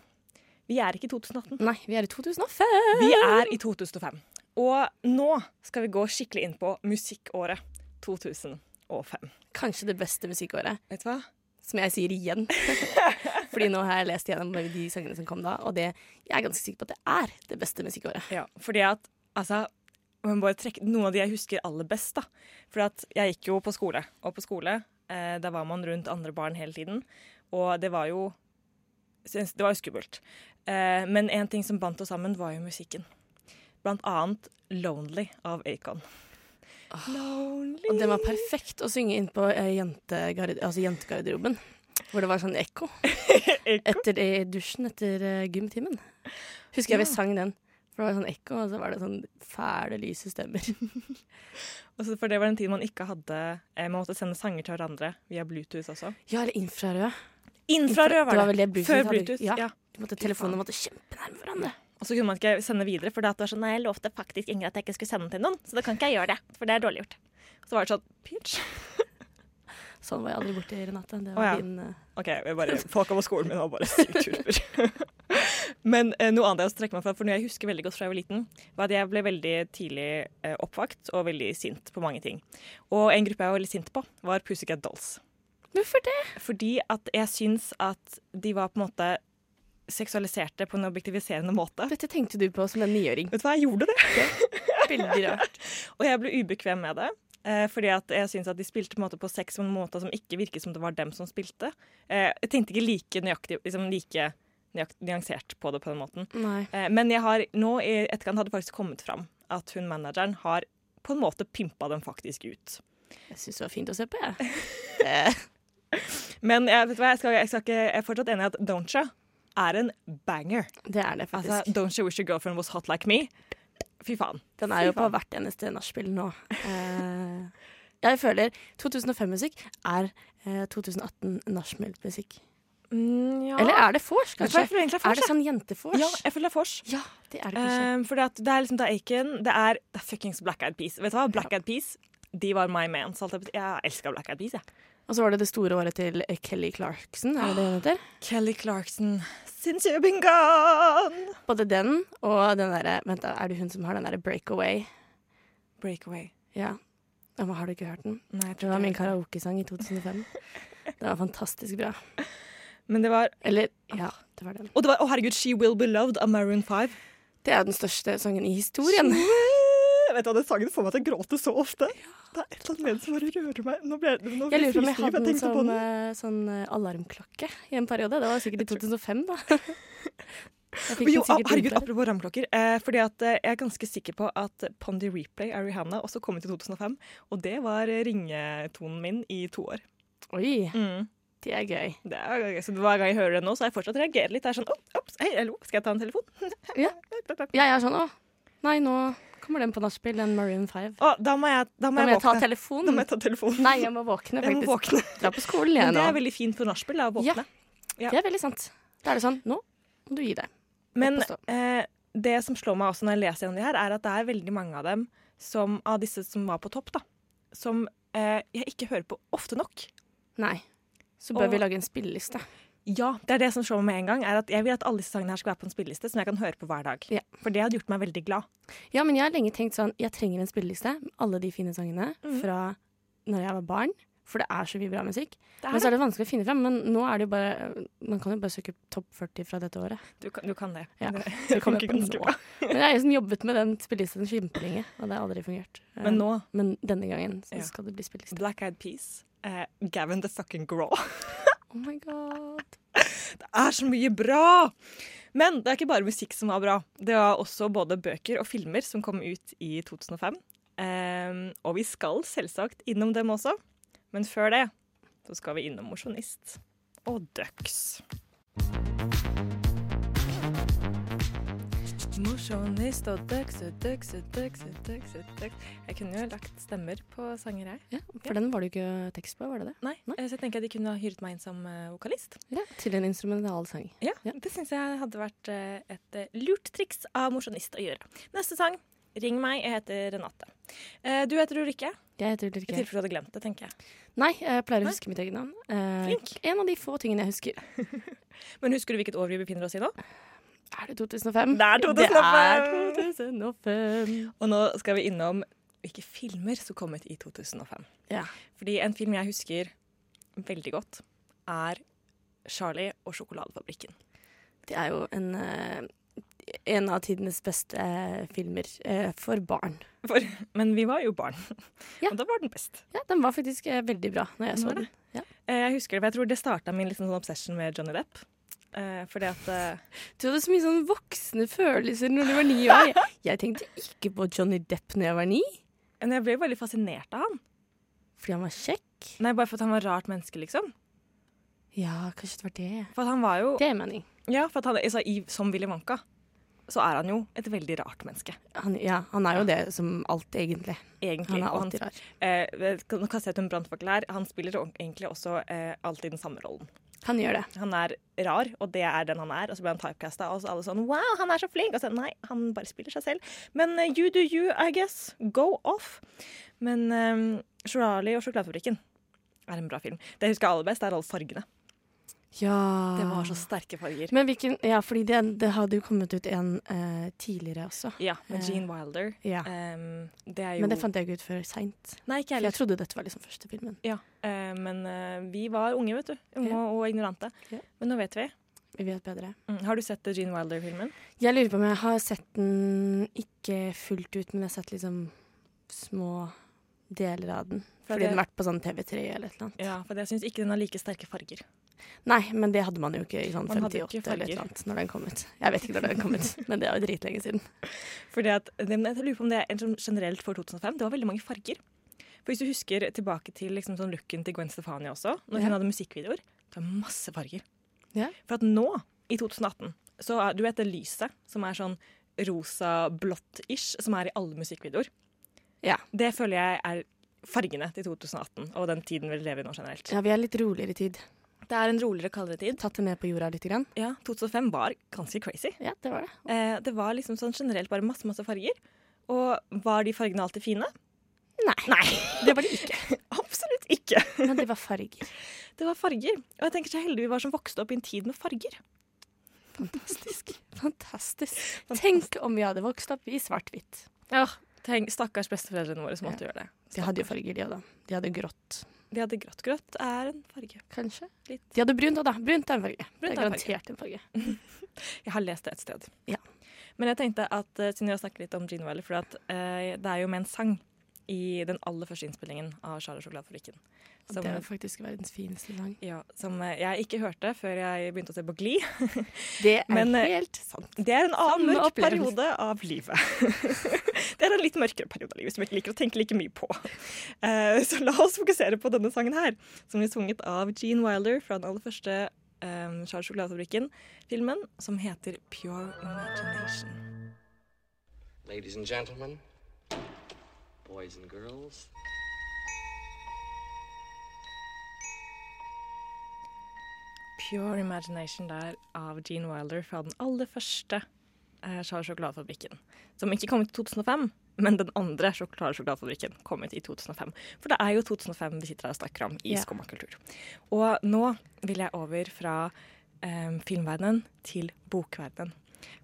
[SPEAKER 3] vi er ikke i 2018,
[SPEAKER 4] Nei, vi er i 2005.
[SPEAKER 3] vi er i 2005. Og nå skal vi gå skikkelig inn på musikkåret 2005.
[SPEAKER 4] Kanskje det beste musikkåret,
[SPEAKER 3] Vet du hva?
[SPEAKER 4] som jeg sier igjen. Fordi nå har jeg lest gjennom de sangene som kom da, og det, jeg er ganske sikker på at det er det beste musikkåret.
[SPEAKER 3] Ja, fordi at, altså man bare trekke, Noen av de jeg husker aller best, da. Fordi at jeg gikk jo på skole, og på skole eh, da var man rundt andre barn hele tiden. Og det var jo synes- Det var jo skummelt. Eh, men en ting som bandt oss sammen, var jo musikken. Blant annet 'Lonely' av Acon.
[SPEAKER 4] Ah.
[SPEAKER 3] Lonely
[SPEAKER 4] Og den var perfekt å synge inn på eh, jentegarde- altså jentegarderoben. Hvor det var sånn ekko
[SPEAKER 3] Acon.
[SPEAKER 4] etter i dusjen etter eh, gymtimen. Husker jeg vi sang den. For det var sånn ekko, og så var det sånn fæle, lyse stemmer.
[SPEAKER 3] Og så- Altså, For det var en tid man ikke hadde eh, Man måtte sende sanger til hverandre via Bluetooth også.
[SPEAKER 4] Ja, eller infrarøde.
[SPEAKER 3] Infrarød var det!
[SPEAKER 4] Det var vel det Bluetooth
[SPEAKER 3] Før
[SPEAKER 4] hadde.
[SPEAKER 3] Bluetooth.
[SPEAKER 4] Ja.
[SPEAKER 3] ja.
[SPEAKER 4] Du måtte, telefonene måtte kjempe nærme hverandre.
[SPEAKER 3] Og så kunne man ikke sende videre, for det at det var sånn, nei, jeg lovte faktisk Ingrid at jeg ikke skulle sende den til noen, så da kan ikke jeg gjøre det, for det er dårlig gjort. Og så var det sånn, pitch.
[SPEAKER 4] Sånn var jeg aldri borte, Renate. Det
[SPEAKER 3] Å,
[SPEAKER 4] var
[SPEAKER 3] ja.
[SPEAKER 4] din eh,
[SPEAKER 3] Ok, jeg bare, folk på skolen min var bare strukturer. Men eh, noe annet jeg også trekker meg fra, for noe jeg husker veldig godt fra jeg var liten, var at jeg ble veldig tidlig eh, oppvakt og veldig sint på mange ting. Og en gruppe jeg var veldig sint på, var Pussycat Dolls.
[SPEAKER 4] Hvorfor det?
[SPEAKER 3] Fordi at jeg syns at de var på en måte seksualiserte på en objektiviserende måte.
[SPEAKER 4] Dette tenkte du på som en niåring.
[SPEAKER 3] Vet du hva, jeg gjorde det.
[SPEAKER 4] Veldig rart.
[SPEAKER 3] Og jeg ble ubekvem med det. Eh, fordi at jeg syntes at de spilte på, en måte på sex på en måte som ikke virket som det var dem som spilte. Eh, jeg tenkte ikke like nøyaktig, liksom like nøyakt, nyansert på det på den måten.
[SPEAKER 4] Nei.
[SPEAKER 3] Eh, men jeg har nå i etterkant hadde faktisk kommet fram at hun manageren har på en måte pimpa dem faktisk ut.
[SPEAKER 4] Jeg syns det var fint å se på, jeg. Eh,
[SPEAKER 3] Men jeg, vet du hva, jeg, skal, jeg, skal ikke, jeg er fortsatt enig i at Don'tcha er en banger.
[SPEAKER 4] det er det
[SPEAKER 3] Altså,
[SPEAKER 4] faktisk.
[SPEAKER 3] Don'tcha Wish Your Girlfriend Was Hot Like Me. Fy faen.
[SPEAKER 4] Den er jo på hvert eneste nachspiel nå. Eh, Jeg føler 2005-musikk er eh, 2018-nachspiel-musikk.
[SPEAKER 3] Mm, ja.
[SPEAKER 4] Eller er det vors,
[SPEAKER 3] Vet du hva,
[SPEAKER 4] kanskje?
[SPEAKER 3] jeg føler egentlig det er vors,
[SPEAKER 4] det sånn jentevors?
[SPEAKER 3] Ja, jeg føler det er vors.
[SPEAKER 4] Ja, det er det kanskje.
[SPEAKER 3] Um, fordi at det er liksom da Aiken Det er, det er fuckings Black Eyed Peas. Vet du hva? Black Eyed Peas de var my man. Så alt jeg- jeg elska Black Eyed Peas. Jeg.
[SPEAKER 4] Og så var det det store året til eh, Kelly Clarkson, er det det hun heter?
[SPEAKER 3] Kelly Clarkson, since you've been gone.
[SPEAKER 4] Både den og den derre Vent, da, er det hun som har den derre Breakaway?
[SPEAKER 3] Breakaway.
[SPEAKER 4] Ja. Ja, men Har du ikke hørt den?
[SPEAKER 3] Nei, jeg
[SPEAKER 4] Det
[SPEAKER 3] tror
[SPEAKER 4] var min
[SPEAKER 3] ikke det.
[SPEAKER 4] karaokesang i 2005. Det var fantastisk bra.
[SPEAKER 3] Men det var
[SPEAKER 4] Eller ja, det var den.
[SPEAKER 3] Og det var, å herregud, She Will Be Loved av Maroon 5.
[SPEAKER 4] Det er jo den største sangen i historien.
[SPEAKER 3] Vet du hva, Den sangen får meg til å gråte så ofte. Det er et eller annet med den som bare rører meg. Nå ble, jeg- nå ble
[SPEAKER 4] Jeg lurer på om jeg
[SPEAKER 3] fristiv,
[SPEAKER 4] hadde den
[SPEAKER 3] tenkte på
[SPEAKER 4] som eh, sånn eh, alarmklokke i en periode. Det var sikkert i 2005, da. Jeg fikk
[SPEAKER 3] Jo,
[SPEAKER 4] den
[SPEAKER 3] ah,
[SPEAKER 4] sikkert
[SPEAKER 3] herregud,
[SPEAKER 4] innført.
[SPEAKER 3] apropos ramklokker. Eh, fordi at eh, Jeg er ganske sikker på at Pondy Replay av Rihanna også kom ut i 2005. Og det var eh, ringetonen min i to år.
[SPEAKER 4] Oi,
[SPEAKER 3] Mm.
[SPEAKER 4] det er gøy.
[SPEAKER 3] Det er, gøy. så Hver gang jeg hører det nå, så har jeg fortsatt reagerer litt. Det er sånn, «Opp, opps, hei, hallo, Skal jeg ta en telefon?
[SPEAKER 4] Ja. Jeg er sånn å, nei, nå kommer den på nachspiel, den Maroon 5.
[SPEAKER 3] Å, da må jeg, da må
[SPEAKER 4] Da må
[SPEAKER 3] jeg
[SPEAKER 4] jeg ta
[SPEAKER 3] våkne. da
[SPEAKER 4] telefonen.
[SPEAKER 3] må jeg ta telefonen.
[SPEAKER 4] Nei, jeg må våkne,
[SPEAKER 3] Jeg må
[SPEAKER 4] faktisk.
[SPEAKER 3] våkne.
[SPEAKER 4] Dra på skolen, jeg
[SPEAKER 3] Men det er
[SPEAKER 4] nå.
[SPEAKER 3] veldig fint for nachspiel, da, å våkne.
[SPEAKER 4] Ja.
[SPEAKER 3] Ja.
[SPEAKER 4] Det er veldig sant. Da er det sånn, nå må du gi deg.
[SPEAKER 3] Men
[SPEAKER 4] opp og
[SPEAKER 3] eh, det som slår meg også når jeg leser gjennom de her, er at det er veldig mange av dem som, av disse som var på topp, da, som eh, jeg ikke hører på ofte nok.
[SPEAKER 4] Nei. Så bør
[SPEAKER 3] Og-
[SPEAKER 4] vi lage en spilleliste.
[SPEAKER 3] Ja, det er det som slår meg med en gang. er at Jeg vil at alle disse sangene her skal være på en spilleliste som jeg kan høre på hver dag.
[SPEAKER 4] Ja.
[SPEAKER 3] For det hadde gjort meg veldig glad.
[SPEAKER 4] Ja, men jeg har lenge tenkt sånn Jeg trenger en spilleliste med alle de fine sangene
[SPEAKER 3] Mhm.
[SPEAKER 4] fra når jeg var barn. For det er så mye bra musikk.
[SPEAKER 3] Det
[SPEAKER 4] Men
[SPEAKER 3] er
[SPEAKER 4] så
[SPEAKER 3] det.
[SPEAKER 4] er det vanskelig å finne frem. Men nå er det jo bare Man kan jo bare søke topp 40 fra dette året.
[SPEAKER 3] Du, kan, du kan det.
[SPEAKER 4] Ja,
[SPEAKER 3] det,
[SPEAKER 4] Det kommer
[SPEAKER 3] funker
[SPEAKER 4] på
[SPEAKER 3] ganske
[SPEAKER 4] nå.
[SPEAKER 3] bra.
[SPEAKER 4] Men jeg har liksom jobbet med den spillelisten kjempelenge, og det har aldri fungert. Eh,
[SPEAKER 3] Men nå
[SPEAKER 4] men denne gangen så
[SPEAKER 3] Ja.
[SPEAKER 4] skal det bli spilleliste.
[SPEAKER 3] Black Eyed Peas, eh, Gavin the Fucking Graw.
[SPEAKER 4] Oh my god.
[SPEAKER 3] Det er så mye bra! Men det er ikke bare musikk som var bra. Det var også både bøker og filmer som kom ut i 2005. Ehm, og vi skal selvsagt innom dem også. Men før det så skal vi innom Mosjonist og Dux. Mosjonist og Dux og Dux og Dux og Dux. og Dux. Jeg kunne jo lagt stemmer på sanger her.
[SPEAKER 4] Ja, for den var det jo ikke tekst på, var det det?
[SPEAKER 3] Nei, eh, så jeg tenker at de kunne ha hyret meg inn som eh, vokalist.
[SPEAKER 4] Ja, Til en instrumental sang.
[SPEAKER 3] Ja,
[SPEAKER 4] Ja.
[SPEAKER 3] det syns jeg hadde vært eh, et eh, lurt triks av mosjonist å gjøre. Neste sang. Ring meg, jeg heter Renate. Eh, Du heter Ulrikke.
[SPEAKER 4] Jeg heter
[SPEAKER 3] I
[SPEAKER 4] Ulrikke.
[SPEAKER 3] tilfelle du hadde glemt det, tenker jeg.
[SPEAKER 4] Nei, jeg pleier å huske mitt eget navn. Eh,
[SPEAKER 3] Flink.
[SPEAKER 4] En av de få tingene jeg husker.
[SPEAKER 3] Men husker du hvilket år vi befinner oss i nå?
[SPEAKER 4] Er det 2005?
[SPEAKER 3] Det er 2005.
[SPEAKER 4] Det er 2005.
[SPEAKER 3] Og nå skal vi innom hvilke filmer som kom ut i 2005.
[SPEAKER 4] Ja.
[SPEAKER 3] Fordi en film jeg husker veldig godt, er Charlie og sjokoladefabrikken.
[SPEAKER 4] Det er jo en, eh, en av tidenes beste eh, filmer eh, for barn.
[SPEAKER 3] For, men vi var jo barn,
[SPEAKER 4] Ja.
[SPEAKER 3] og da var den best.
[SPEAKER 4] Ja, den var faktisk eh, veldig bra når jeg
[SPEAKER 3] Den
[SPEAKER 4] så
[SPEAKER 3] var
[SPEAKER 4] den.
[SPEAKER 3] Eh, Jeg husker det, for jeg tror det starta min liksom sånn obsession med Johnny Depp. Eh, fordi at eh,
[SPEAKER 4] Du hadde så mye sånn voksne følelser når du var ni år. Jeg, jeg tenkte ikke på Johnny Depp når jeg var ni,
[SPEAKER 3] Men jeg ble jo veldig fascinert av han.
[SPEAKER 4] fordi han var kjekk.
[SPEAKER 3] Nei, Bare for at han var rart menneske, liksom.
[SPEAKER 4] Ja, kanskje det var det.
[SPEAKER 3] For at han var jo,
[SPEAKER 4] Det er mening.
[SPEAKER 3] ja, for at han, altså, i, Som Willy Wonka så er han jo et veldig rart menneske,
[SPEAKER 4] Han, ja, han er jo det som alt, egentlig.
[SPEAKER 3] egentlig.
[SPEAKER 4] Han er
[SPEAKER 3] Og
[SPEAKER 4] alltid rar.
[SPEAKER 3] eh, vet- Nå kaster jeg ut en brannfakkel her. Han spiller jo egentlig også eh, alltid den samme rollen.
[SPEAKER 4] Han gjør det.
[SPEAKER 3] Han er rar, og det er den han er. Og så blir han typecasta, og så alle sånn Wow, han er så flink! Og så nei, han bare spiller seg selv. Men eh, you do you, I guess. Go off. Men eh, Charlie og sjokoladefabrikken er en bra film. Det jeg husker aller best, er alle fargene.
[SPEAKER 4] Ja.
[SPEAKER 3] Det var så sterke farger.
[SPEAKER 4] Men hvilken Ja, fordi det, det hadde jo kommet ut en eh, tidligere også.
[SPEAKER 3] Ja, med
[SPEAKER 4] Eh,
[SPEAKER 3] Gene Wilder.
[SPEAKER 4] Ja.
[SPEAKER 3] Ehm, det er jo
[SPEAKER 4] Men det fant jeg ikke ut før seint.
[SPEAKER 3] Nei, ikke jeg
[SPEAKER 4] Jeg
[SPEAKER 3] heller.
[SPEAKER 4] trodde dette var liksom første filmen.
[SPEAKER 3] Ja. eh, men eh, vi var unge, vet du. Unge
[SPEAKER 4] Ja.
[SPEAKER 3] og ignorante.
[SPEAKER 4] Ja.
[SPEAKER 3] Men nå vet vi.
[SPEAKER 4] Vi vet bedre.
[SPEAKER 3] Mm. Har du sett eh, Gene Wilder-filmen?
[SPEAKER 4] Jeg lurer på om jeg har sett den ikke fullt ut, men jeg har sett liksom små deler av den.
[SPEAKER 3] For
[SPEAKER 4] Fordi
[SPEAKER 3] det-
[SPEAKER 4] den har vært på sånn TV3 eller et eller annet.
[SPEAKER 3] Ja, for jeg syns ikke den har like sterke farger.
[SPEAKER 4] Nei, men det hadde man jo ikke i sånn
[SPEAKER 3] Man hadde jo
[SPEAKER 4] 58
[SPEAKER 3] ikke
[SPEAKER 4] eller et
[SPEAKER 3] farger.
[SPEAKER 4] eller annet når den kom ut. Jeg vet ikke når den kom ut, men det er jo dritlenge siden.
[SPEAKER 3] Fordi at, det- men jeg lurer på om det er en sånn generelt for 2005. Det var veldig mange farger. For Hvis du husker tilbake til liksom sånn looken til Gwen Stefani også, når hun
[SPEAKER 4] Ja.
[SPEAKER 3] hadde musikkvideoer, det var masse farger.
[SPEAKER 4] Ja.
[SPEAKER 3] For at nå, i 2018, så er, du vet det lyset som er sånn rosa-blått-ish, som er i alle musikkvideoer.
[SPEAKER 4] Ja.
[SPEAKER 3] Det føler jeg er fargene til 2018 og den tiden vi lever i nå generelt.
[SPEAKER 4] Ja, vi er litt roligere i tid.
[SPEAKER 3] Det er en roligere, kaldere tid.
[SPEAKER 4] Tatt det ned på jorda litt. Grann.
[SPEAKER 3] Ja, 2005 var ganske crazy.
[SPEAKER 4] Ja, det var det.
[SPEAKER 3] Eh, det var liksom sånn generelt bare masse, masse farger. Og var de fargene alltid fine?
[SPEAKER 4] Nei. Det var det ikke.
[SPEAKER 3] Absolutt ikke.
[SPEAKER 4] Men det var farger.
[SPEAKER 3] Det var farger. Og jeg tenker så heldige vi var som vokste opp i en tid med farger.
[SPEAKER 4] Fantastisk. Fantastisk. Tenk om vi hadde vokst opp i svart-hvitt.
[SPEAKER 3] Ja, tenk, Stakkars besteforeldrene våre som måtte gjøre det.
[SPEAKER 4] De hadde jo farger, de òg, da. De hadde grått,
[SPEAKER 3] De hadde grått. Grått er en farge.
[SPEAKER 4] kanskje.
[SPEAKER 3] Litt.
[SPEAKER 4] De hadde brunt òg, da. Brunt er en farge.
[SPEAKER 3] Brunt er
[SPEAKER 4] det
[SPEAKER 3] en
[SPEAKER 4] er garantert en farge.
[SPEAKER 3] Jeg har lest det et sted.
[SPEAKER 4] Ja.
[SPEAKER 3] Men jeg tenkte at eh, siden vi har snakket litt om Gene Wilder, for at, eh, det er jo med en sang i den aller første innspillingen av Charlie og sjokoladefabrikken.
[SPEAKER 4] Det
[SPEAKER 3] Som,
[SPEAKER 4] var faktisk verdens fineste sang.
[SPEAKER 3] ja, som eh, jeg ikke hørte før jeg begynte å se på Glee.
[SPEAKER 4] Det er
[SPEAKER 3] Men, eh,
[SPEAKER 4] helt sant.
[SPEAKER 3] Det er en annen
[SPEAKER 4] Samme
[SPEAKER 3] mørk
[SPEAKER 4] opplevelse.
[SPEAKER 3] periode av livet. det er en litt mørkere periode av livet som jeg ikke liker å tenke like mye på. Eh, så la oss fokusere på denne sangen her, som blir sunget av Gene Wilder fra den aller første um, Charles Sjokoladefabrikken-filmen, som heter Pure Imagination.
[SPEAKER 10] Ladies and gentlemen, boys and girls.
[SPEAKER 3] Pure Imagination der av Gene Wilder fra den aller første eh, Charles Sjokoladefabrikken. Som ikke kom ut i 2005, men den andre Charles Sjokoladefabrikken kom ut i 2005. For det er jo 2005 vi sitter her og snakker om i
[SPEAKER 4] Ja.
[SPEAKER 3] Skummakultur. Og nå vil jeg over fra eh, filmverdenen til bokverdenen.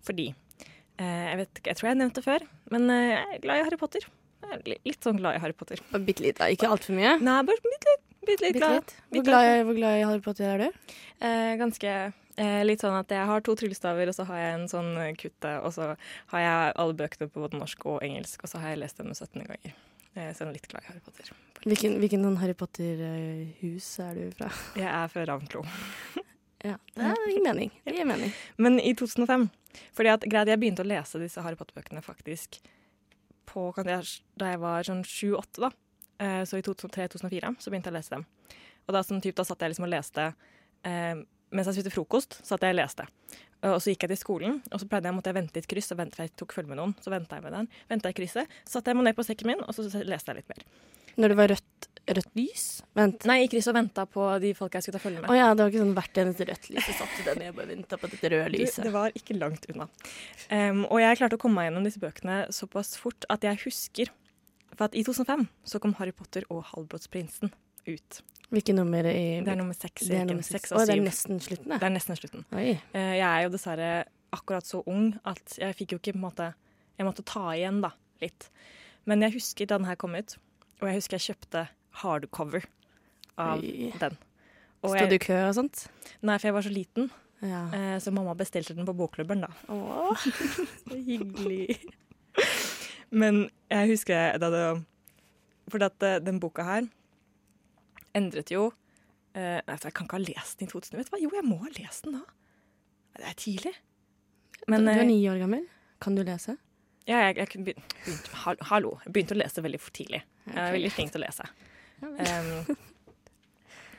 [SPEAKER 3] Fordi eh, jeg, vet, ikke- jeg tror jeg har nevnt det før, men eh, jeg er glad i Harry Potter. Jeg er li- litt sånn glad i Harry Potter.
[SPEAKER 4] Bitte litt, da. Ikke altfor mye.
[SPEAKER 3] Nei, bare bitte litt. Bitte litt
[SPEAKER 4] Bitte
[SPEAKER 3] glad.
[SPEAKER 4] litt.
[SPEAKER 3] Bitte
[SPEAKER 4] Hvor glad, i- hvor glad i Harry Potter er du?
[SPEAKER 3] Eh, ganske eh, litt sånn at jeg har to tryllestaver, og så har jeg en sånn eh, kutte, og så har jeg alle bøkene på både norsk og engelsk, og så har jeg lest dem 17 ganger. Eh, så jeg er litt glad i Harry Potter.
[SPEAKER 4] Hvilken, hvilken sånn Harry Potter-hus er du fra?
[SPEAKER 3] Jeg er fra Ravnklo.
[SPEAKER 4] Ja, Det gir mening. Det gir mening.
[SPEAKER 3] Men i 2005, fordi at greit, jeg begynte å lese disse Harry Potter-bøkene faktisk på, kan jeg, da jeg var sånn 7-8 da. Eh, så i 2003-2004 så begynte jeg å lese dem. Og da, som typ, da satt jeg liksom og leste, eh, mens jeg spiste frokost, satt jeg og leste. Eh, Og så gikk jeg til skolen, og så pleide jeg, måtte jeg vente i et kryss, og vente, for jeg tok følge med noen, så ventet jeg med den, ventet jeg i krysset, så satt jeg meg ned på sekken min, og så leste jeg litt mer.
[SPEAKER 4] Når det var rødt, rødt lys? Vent.
[SPEAKER 3] Nei, i krysset og ventet på de folk jeg skulle ta følge med.
[SPEAKER 4] Å ja, det var ikke sånn hvert eneste rødt lys jeg satt i den. Jeg bare venta på dette røde
[SPEAKER 3] Du,
[SPEAKER 4] lyset.
[SPEAKER 3] det var ikke langt unna. Em, og jeg klarte å komme meg gjennom disse bøkene såpass fort at jeg husker For at i 2005 så kom Harry Potter og Halvblodsprinsen ut.
[SPEAKER 4] Hvilke nummer i
[SPEAKER 3] Det er nummer seks.
[SPEAKER 4] Det er
[SPEAKER 3] ikke?
[SPEAKER 4] nummer
[SPEAKER 3] Seks
[SPEAKER 4] seks.
[SPEAKER 3] og
[SPEAKER 4] Å, det er
[SPEAKER 3] syv.
[SPEAKER 4] nesten slutten,
[SPEAKER 3] Det
[SPEAKER 4] det.
[SPEAKER 3] er nesten slutten.
[SPEAKER 4] Oi.
[SPEAKER 3] Eh, jeg er jo dessverre akkurat så ung at jeg fikk jo ikke på en måte Jeg måtte ta igjen, da, litt. Men jeg husker da den her kom ut, og jeg husker jeg kjøpte hardcover av
[SPEAKER 4] Oi.
[SPEAKER 3] den. Og
[SPEAKER 4] Stod du
[SPEAKER 3] jeg,
[SPEAKER 4] i kø og sånt?
[SPEAKER 3] nei, for jeg var så liten,
[SPEAKER 4] Ja.
[SPEAKER 3] eh, så mamma bestilte den på bokklubben, da.
[SPEAKER 4] Åh,
[SPEAKER 3] Hyggelig. Men jeg husker da det For at eh, den boka her endret jo eh, Nei, for jeg kan ikke ha lest den i 2000. Vet du hva? Jo, jeg må ha lest den da. Det er tidlig. Men
[SPEAKER 4] du
[SPEAKER 3] eh,
[SPEAKER 4] er ni år gammel. Kan du lese?
[SPEAKER 3] ja, jeg, jeg kunne begynt, begynt, hal- Hallo. Jeg begynte å lese veldig for tidlig. Jeg er veldig flink til å lese. Em,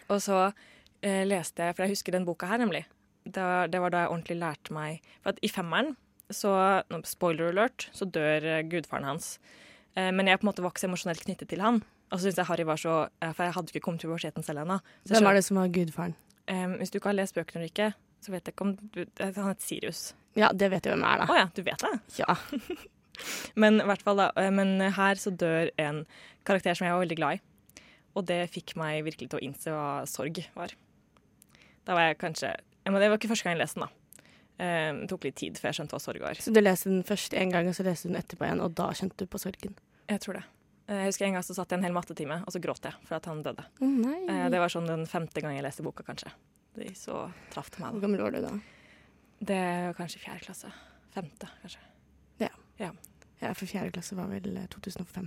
[SPEAKER 3] og så eh, leste jeg, for jeg husker den boka her nemlig. Det var, det var da jeg ordentlig lærte meg For at i femmeren, så nå, spoiler alert, så dør eh, gudfaren hans. Eh, men jeg på en måte var ikke så emosjonelt knyttet til han. Og så syntes jeg Harry var så eh, For jeg hadde ikke kommet til puberteten selv ennå. Så jeg
[SPEAKER 4] Hvem er
[SPEAKER 3] skjønte-
[SPEAKER 4] det som var gudfaren?
[SPEAKER 3] em, hvis du ikke har lest bøkene eller ikke, så vet jeg ikke om du, Han heter Sirius.
[SPEAKER 4] Ja, det vet jeg hvem er,
[SPEAKER 3] Å
[SPEAKER 4] da.
[SPEAKER 3] ja, du vet det?
[SPEAKER 4] Ja.
[SPEAKER 3] Men, i hvert fall da, eh, men her så dør en karakter som jeg var veldig glad i. Og det fikk meg virkelig til å innse hva sorg var. Da var jeg kanskje ja, men Det var ikke første gang jeg leste den, da. Eh, Det tok litt tid før jeg skjønte hva sorg var.
[SPEAKER 4] Så du leste den først én gang, og så leste du den etterpå igjen, og da kjente du på sorgen.
[SPEAKER 3] Jeg tror det. Eh, Jeg husker En gang så satt jeg en hel mattetime og så gråt jeg for at han døde.
[SPEAKER 4] Å nei.
[SPEAKER 3] Eh, Det var sånn den femte gang jeg leste boka, kanskje. Det så traff det meg.
[SPEAKER 4] Hvor gammel var du da?
[SPEAKER 3] da. Det var kanskje i fjerde klasse. Femte, kanskje.
[SPEAKER 4] Ja, for fjerde klasse var vel eh, 2005.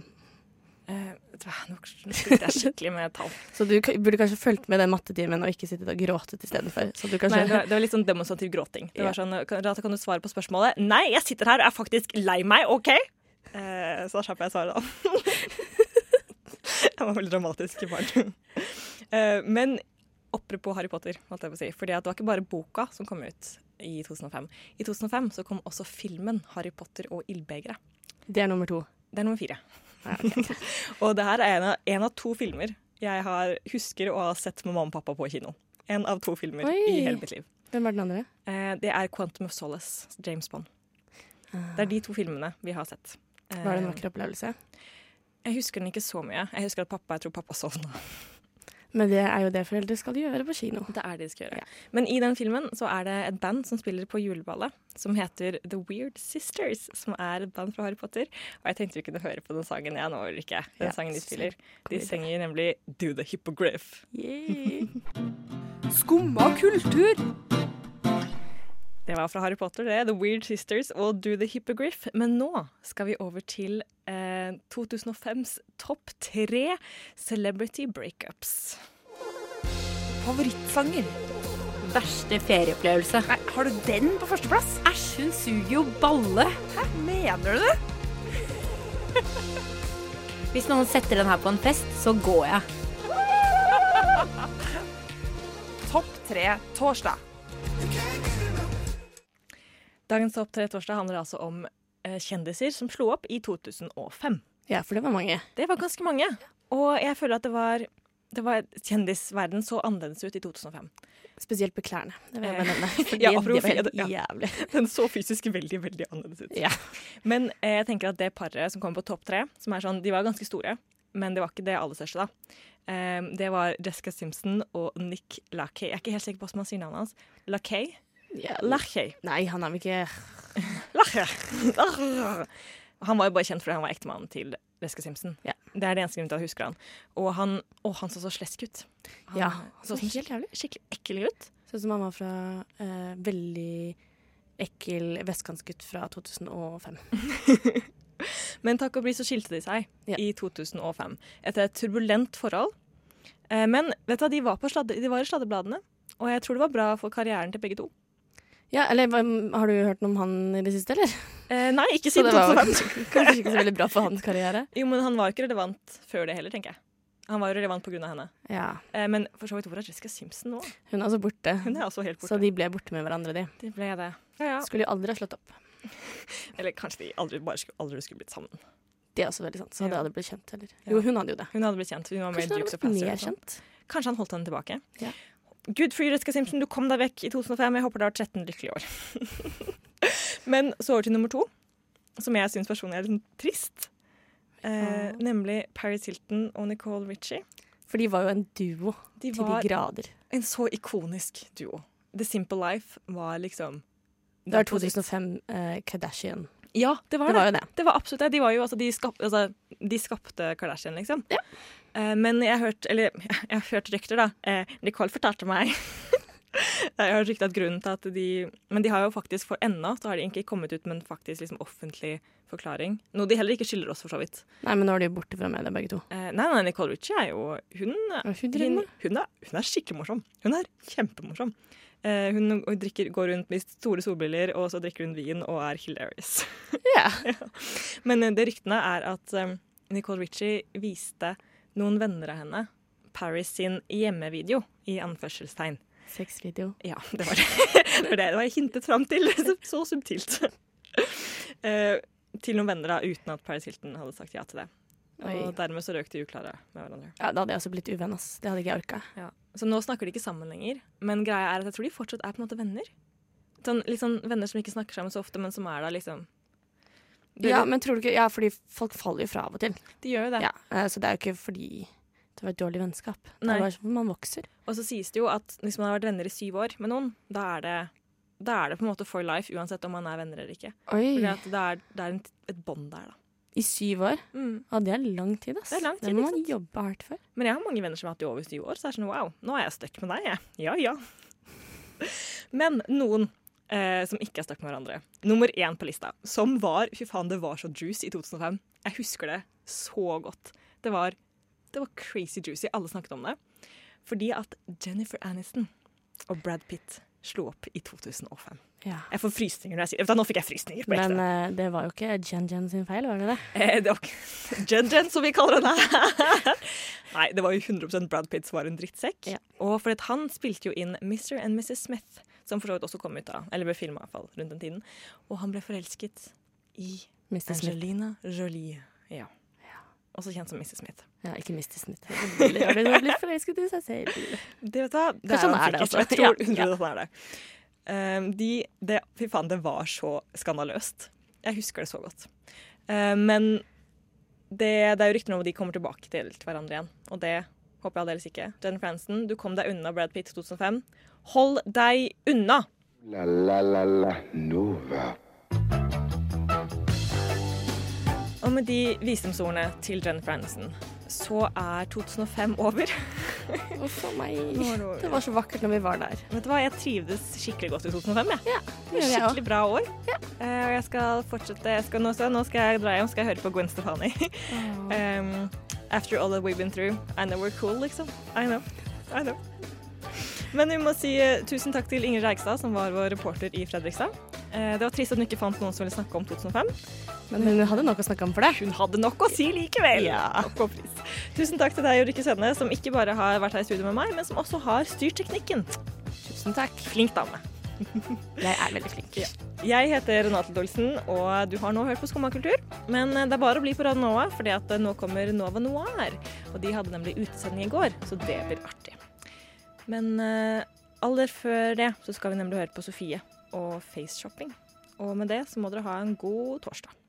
[SPEAKER 3] Eh, vet du hva, Nå sliter jeg skikkelig med tall.
[SPEAKER 4] Så du k- burde kanskje fulgt med den mattetimen og ikke sittet og gråtet istedenfor. Så du kanskje
[SPEAKER 3] Nei, det var, det var litt sånn demonstrativ gråting. Det
[SPEAKER 4] Ja.
[SPEAKER 3] var sånn, kan, Rata, kan du svare på spørsmålet? Nei, jeg sitter her og er faktisk lei meg, OK? Eh, så da slapp jeg svaret, da. jeg var veldig dramatisk i barn. eh, men apropos Harry Potter, holdt jeg på å si. Fordi at det var ikke bare boka som kom ut i 2005. I 2005 så kom også filmen 'Harry Potter og ildbegeret'.
[SPEAKER 4] Det er nummer to.
[SPEAKER 3] Det er nummer fire. og det her er en av, en av to filmer jeg har, husker å ha sett med mamma og pappa på kino. En av to filmer i
[SPEAKER 4] Oi.
[SPEAKER 3] hele mitt liv.
[SPEAKER 4] Hvem var den andre?
[SPEAKER 3] Eh, det er 'Quantum of Solace', James Bond. Det er de to filmene vi har sett. Eh,
[SPEAKER 4] Var det en vakker opplevelse?
[SPEAKER 3] Jeg husker den ikke så mye. Jeg husker at pappa, jeg tror pappa sovna.
[SPEAKER 4] Men det er jo det foreldre skal gjøre på kino.
[SPEAKER 3] Det er det de skal gjøre. Men i den filmen så er det et band som spiller på juleballet, som heter The Weird Sisters, som er et band fra Harry Potter. Og jeg tenkte vi kunne høre på den sangen jeg nå orker. Den
[SPEAKER 11] Ja,
[SPEAKER 3] sangen de spiller.
[SPEAKER 11] god
[SPEAKER 3] De
[SPEAKER 11] idé.
[SPEAKER 3] synger nemlig Do the Hippogriff.
[SPEAKER 11] Skumma kultur.
[SPEAKER 3] Det var fra Harry Potter, det. The Weird Sisters og Do the Hippogriff. Men nå skal vi over til eh, 2005s topp tre celebrity breakups. Favorittsanger.
[SPEAKER 12] Verste ferieopplevelse. Nei, har du den på førsteplass? Æsj, hun suger jo balle. Hæ, mener du det? Hvis noen setter den her på en fest, så går jeg.
[SPEAKER 11] Topp tre torsdag.
[SPEAKER 3] Dagens topp tre torsdag handler altså om eh, kjendiser som slo opp i 2005.
[SPEAKER 4] Ja, for det var mange.
[SPEAKER 3] Det var ganske mange. Og jeg føler at det var, det var kjendisverden så annerledes ut i 2005.
[SPEAKER 4] Spesielt på klærne. Det vil jeg bare
[SPEAKER 3] Eh,
[SPEAKER 4] nevne. Fordi
[SPEAKER 3] ja,
[SPEAKER 4] det
[SPEAKER 3] apropos
[SPEAKER 4] var helt
[SPEAKER 3] det- ja.
[SPEAKER 4] jævlig.
[SPEAKER 3] Den så fysisk veldig, veldig annerledes ut. Men eh, jeg tenker at det paret som kom på topp tre, som er sånn, de var ganske store, men det var ikke det aller største, da. Eh, det var Jessica Simpson og Nick Lackey. Jeg er ikke helt sikker på hvordan man sier navnet hans. Lackey?
[SPEAKER 4] Ja,
[SPEAKER 3] Lackey.
[SPEAKER 4] Nei, han er vel ikke
[SPEAKER 3] Han var jo bare kjent fordi han var ektemannen til Jessica Simpson. Det er det eneste grunnen til at jeg husker han. Og han, å, han så så slesk ut. Han
[SPEAKER 4] Ja.
[SPEAKER 3] så sånn
[SPEAKER 4] helt jævlig.
[SPEAKER 3] Skikkelig ekkel gutt.
[SPEAKER 4] Sånn som han var fra eh, veldig ekkel vestkantsgutt fra 2005.
[SPEAKER 3] Men takk og pris så skilte de seg i 2005 etter et turbulent forhold. Eh, Men vet du, hva, de var, på sladde, de var i sladdebladene, og jeg tror det var bra for karrieren til begge to.
[SPEAKER 4] Ja, eller hva- har du hørt noe om han i det siste, eller?
[SPEAKER 3] Eh, nei, ikke
[SPEAKER 4] Så
[SPEAKER 3] siden
[SPEAKER 4] det var
[SPEAKER 3] 2005.
[SPEAKER 4] kanskje ikke så veldig bra for hans karriere.
[SPEAKER 3] Jo, men han var jo ikke relevant før det heller, tenker jeg. Han var jo relevant pga. henne.
[SPEAKER 4] Ja.
[SPEAKER 3] Eh, Men for så vidt, hvor er Jessica Simpson nå?
[SPEAKER 4] Hun er altså borte.
[SPEAKER 3] Hun er altså helt borte.
[SPEAKER 4] Så de ble borte med hverandre, de.
[SPEAKER 3] Det ble det. Ja, ja.
[SPEAKER 4] Skulle jo aldri ha slått opp.
[SPEAKER 3] Eller kanskje de aldri, bare skulle, aldri skulle blitt sammen.
[SPEAKER 4] Det er også veldig sant. Så hadde
[SPEAKER 3] Ja.
[SPEAKER 4] jeg aldri blitt kjent heller. Jo, hun hadde jo det.
[SPEAKER 3] Hun hadde blitt kjent. Hun var med i
[SPEAKER 4] Kanskje hun
[SPEAKER 3] Dukes
[SPEAKER 4] hadde
[SPEAKER 3] of Hazzard.
[SPEAKER 4] blitt mer
[SPEAKER 3] og sånn.
[SPEAKER 4] kjent.
[SPEAKER 3] Kanskje han holdt henne tilbake.
[SPEAKER 4] Ja.
[SPEAKER 3] Good for you, Jessica Simpson. Du kom deg vekk i 2005. Jeg håper du har 13 lykkelige år. Men så over til nummer to, som jeg syns personlig er litt trist. Eh, nemlig Paris Hilton og Nicole Ritchie.
[SPEAKER 4] For de var jo en duo til
[SPEAKER 3] var-
[SPEAKER 4] de grader.
[SPEAKER 3] En så ikonisk duo. The Simple Life var liksom
[SPEAKER 4] Det var 2005 eh, Kardashian.
[SPEAKER 3] Ja, det var det.
[SPEAKER 4] Det var jo det.
[SPEAKER 3] var absolutt det. De, var jo, altså, de, skap, altså, de skapte Kardashian, liksom. Eh, men jeg har hørt, eller, jeg har hørt rykter, da. Eh, Nicole fortalte meg Jeg har hørt rykter at grunnen til at de Men de har jo faktisk for ennå så har de ikke kommet ut med en faktisk liksom, offentlig forklaring. Noe de heller ikke skylder oss, for så vidt.
[SPEAKER 4] Nei, men nå er de jo borte fra media, begge to.
[SPEAKER 3] Eh, nei, nei, Nicole Ritchie er jo Hun,
[SPEAKER 4] Hva er hun driver
[SPEAKER 3] hun,
[SPEAKER 4] med?
[SPEAKER 3] hun, er, hun er skikkelig morsom. Hun er kjempemorsom. Eh, hun drikker, går rundt med store solbriller, og så drikker hun vin og er hilarious. Ja. Men eh, det ryktene er at eh, Nicole Ritchie viste noen venner av henne Paris sin hjemmevideo, i anførselstegn.
[SPEAKER 4] Sexvideo.
[SPEAKER 3] Ja, det var det. det var det det var hintet fram til. Så subtilt. Eh, til noen venner, da, uten at Paris Hilton hadde sagt ja til det.
[SPEAKER 4] Oi.
[SPEAKER 3] Og dermed så røk de uklare med hverandre.
[SPEAKER 4] Ja, da hadde jeg også blitt uvenn, ass. Det hadde ikke jeg orka.
[SPEAKER 3] Ja. Så nå snakker de ikke sammen lenger, men greia er at jeg tror de fortsatt er på en måte venner. Sånn, litt sånn venner som ikke snakker sammen så ofte, men som er der liksom Du-
[SPEAKER 4] Ja, men tror du ikke Ja, fordi folk faller jo fra av og til.
[SPEAKER 3] De gjør jo det.
[SPEAKER 4] Ja, eh, så det er jo ikke fordi det var et dårlig vennskap. Det
[SPEAKER 3] Nei.
[SPEAKER 4] er bare sånn man vokser.
[SPEAKER 3] Og så sies det jo at hvis man har vært venner i syv år med noen, da er det, da er det på en måte for life, uansett om man er venner eller ikke.
[SPEAKER 4] Oi.
[SPEAKER 3] Fordi at det er, det er en, et bånd der, da.
[SPEAKER 4] I syv år.
[SPEAKER 3] Mm.
[SPEAKER 4] Ja, det er lang tid, ass.
[SPEAKER 3] Det er lang tid,
[SPEAKER 4] må
[SPEAKER 3] ikke
[SPEAKER 4] man jobbe hardt for.
[SPEAKER 3] Men jeg har mange venner som har hatt det i over syv år, så det er sånn wow, nå er jeg stuck med deg, jeg. Ja ja. Men noen eh, som ikke er stuck med hverandre. Nummer én på lista, som var Fy faen, det var så juice i 2005. Jeg husker det så godt. Det var, det var crazy juicy. Alle snakket om det. Fordi at Jennifer Aniston og Brad Pitt slo opp i 2005.
[SPEAKER 4] Ja.
[SPEAKER 3] Jeg får frysninger når jeg sier Vet du, Nå fikk jeg frysninger på ekte.
[SPEAKER 4] Men eh, det var jo ikke Jen Jen sin feil, var det det?
[SPEAKER 3] Eh, det var ikke Jen Jen, som vi kaller henne. Nei, det var jo 100 Brad Pitt som var en drittsekk. Og fordi at han spilte jo inn Mr. and Mrs. Smith, som for så vidt også kom ut av, eller ble filma iallfall rundt den tiden. Og han ble forelsket i
[SPEAKER 4] Mr. Smith.
[SPEAKER 3] Angelina Jolie. Ja. også kjent som Mrs. Smith.
[SPEAKER 4] Ja, ikke miste snitt. Eller har det blitt forelsket i seg selv?
[SPEAKER 3] Det vet du, hva, det
[SPEAKER 4] Kanskje
[SPEAKER 3] er
[SPEAKER 4] han er
[SPEAKER 3] han sikkert.
[SPEAKER 4] det, altså.
[SPEAKER 3] Jeg tror
[SPEAKER 4] Ja, ja.
[SPEAKER 3] undrer at han er det. Um, de, det. Fy faen, det var så skandaløst. Jeg husker det så godt. Uh, men det, det er jo rykter om at de kommer tilbake til hverandre igjen, og det håper jeg aldeles ikke. Jennifer Aniston, du kom deg unna Brad Pitt 2005. Hold deg unna!
[SPEAKER 2] La la la la Nova.
[SPEAKER 3] Og med de visdomsordene til Jennifer Aniston, så er 2005 over.
[SPEAKER 4] Uff a meg.
[SPEAKER 3] Nå er det over.
[SPEAKER 4] Det var så vakkert når vi var der.
[SPEAKER 3] Vet du hva, jeg trivdes skikkelig godt i 2005, jeg.
[SPEAKER 4] det gjør jeg
[SPEAKER 3] skikkelig bra år. Eh, og jeg skal fortsette jeg skal nå, så, nå skal jeg dra hjem skal jeg høre på Gwen Stefani. um, after all that we've been through, I know we're cool, liksom. I know. I know. Men vi må si eh, tusen takk til Ingrid Reigstad, som var vår reporter i Fredrikstad. Eh, det var trist at hun ikke fant noen som ville snakke om 2005.
[SPEAKER 4] Men hun hadde nok å snakke om for det.
[SPEAKER 3] Hun hadde nok å si likevel. Takk og pris. Tusen takk til deg, Ulrikke Sønne, som ikke bare har vært her i studio med meg, men som også har styrt teknikken.
[SPEAKER 4] Tusen takk.
[SPEAKER 3] Flink dame.
[SPEAKER 4] Jeg er veldig flink.
[SPEAKER 3] Jeg heter Renate Dolsen, og du har nå hørt på Skumma kultur. Men eh, det er bare å bli på Radio Nova, for nå kommer Nova Noir. Og de hadde nemlig utesending i går, så det blir artig. Men eh, aller før det så skal vi nemlig høre på Sofie og Face Shopping. Og med det så må dere ha en god torsdag.